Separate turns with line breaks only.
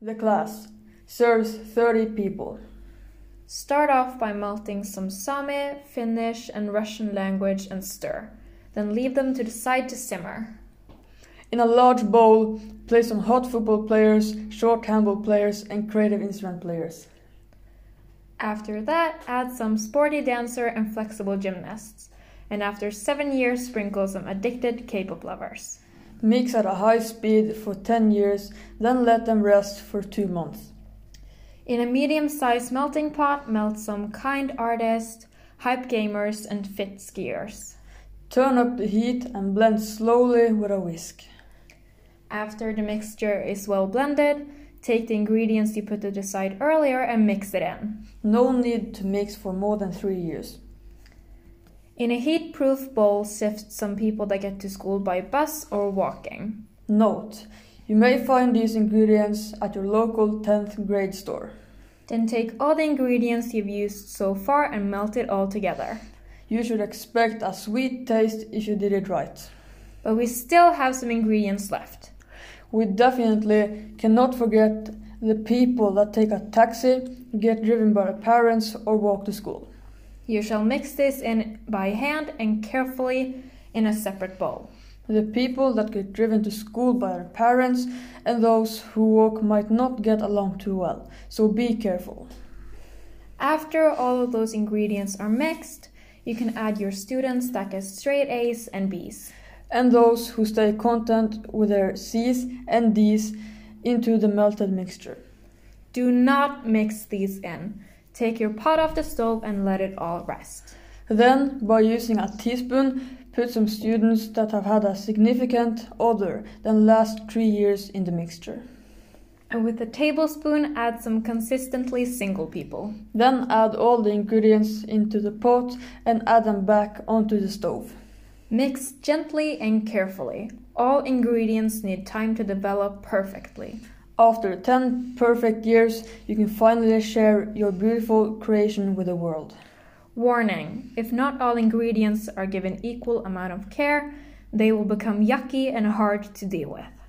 The class serves 30 people.
Start off by melting some Sami, Finnish, and Russian language and stir. Then leave them to decide to simmer.
In a large bowl, place some hot football players, short handball players, and creative instrument players.
After that, add some sporty dancer and flexible gymnasts. And after seven years, sprinkle some addicted K pop lovers.
Mix at a high speed for 10 years, then let them rest for 2 months.
In a medium sized melting pot, melt some kind artists, hype gamers, and fit skiers.
Turn up the heat and blend slowly with a whisk.
After the mixture is well blended, take the ingredients you put to the side earlier and mix it in.
No need to mix for more than 3 years.
In a heat proof bowl, sift some people that get to school by bus or walking.
Note: You may find these ingredients at your local 10th grade store.
Then take all the ingredients you've used so far and melt it all together.
You should expect a sweet taste if you did it right.
But we still have some ingredients left.
We definitely cannot forget the people that take a taxi, get driven by their parents, or walk to school.
You shall mix this in by hand and carefully in a separate bowl.
The people that get driven to school by their parents and those who walk might not get along too well, so be careful.
After all of those ingredients are mixed, you can add your students that get straight A's and B's.
And those who stay content with their C's and D's into the melted mixture.
Do not mix these in. Take your pot off the stove and let it all rest.
Then, by using a teaspoon, put some students that have had a significant odor than last three years in the mixture.
And with a tablespoon, add some consistently single people.
Then add all the ingredients into the pot and add them back onto the stove.
Mix gently and carefully. All ingredients need time to develop perfectly.
After 10 perfect years, you can finally share your beautiful creation with the world.
Warning if not all ingredients are given equal amount of care, they will become yucky and hard to deal with.